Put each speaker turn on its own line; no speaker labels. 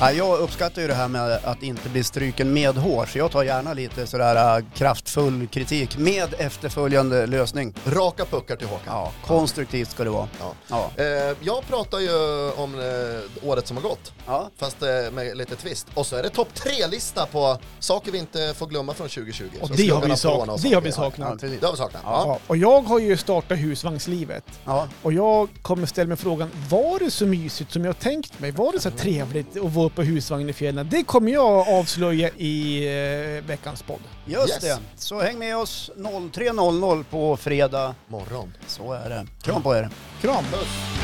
Ja, jag uppskattar ju det här med att inte bli stryken med hår, så jag tar gärna lite sådär äh, kraftfull kritik med efterföljande lösning.
Raka puckar till Håkan.
Ja, konstruktivt ska det vara.
Ja.
Ja.
Eh, jag pratar ju om eh, året som har gått,
Ja.
fast eh, med lite twist. Och så är det topp tre-lista på saker vi inte får glömma från 2020.
Och
Så
det har,
skuggan
vi
av corona
sak-
och
det har vi
saker.
Ja,
saknat.
Ja,
precis.
Det har vi saknat. Ja.
Ja, och jag har ju startat husvagnslivet.
Ja.
Och jag kommer ställa mig frågan, var det så mysigt som jag tänkt mig? Var det
Mm.
så trevligt att vara uppe på husvagn i fjällen? Det kommer jag avslöja i eh, veckans podd.
Just
Yes.
det. Så häng med oss 03.00 på fredag.
Morgon.
Så är det. Kram på er.
Kram!
Puss.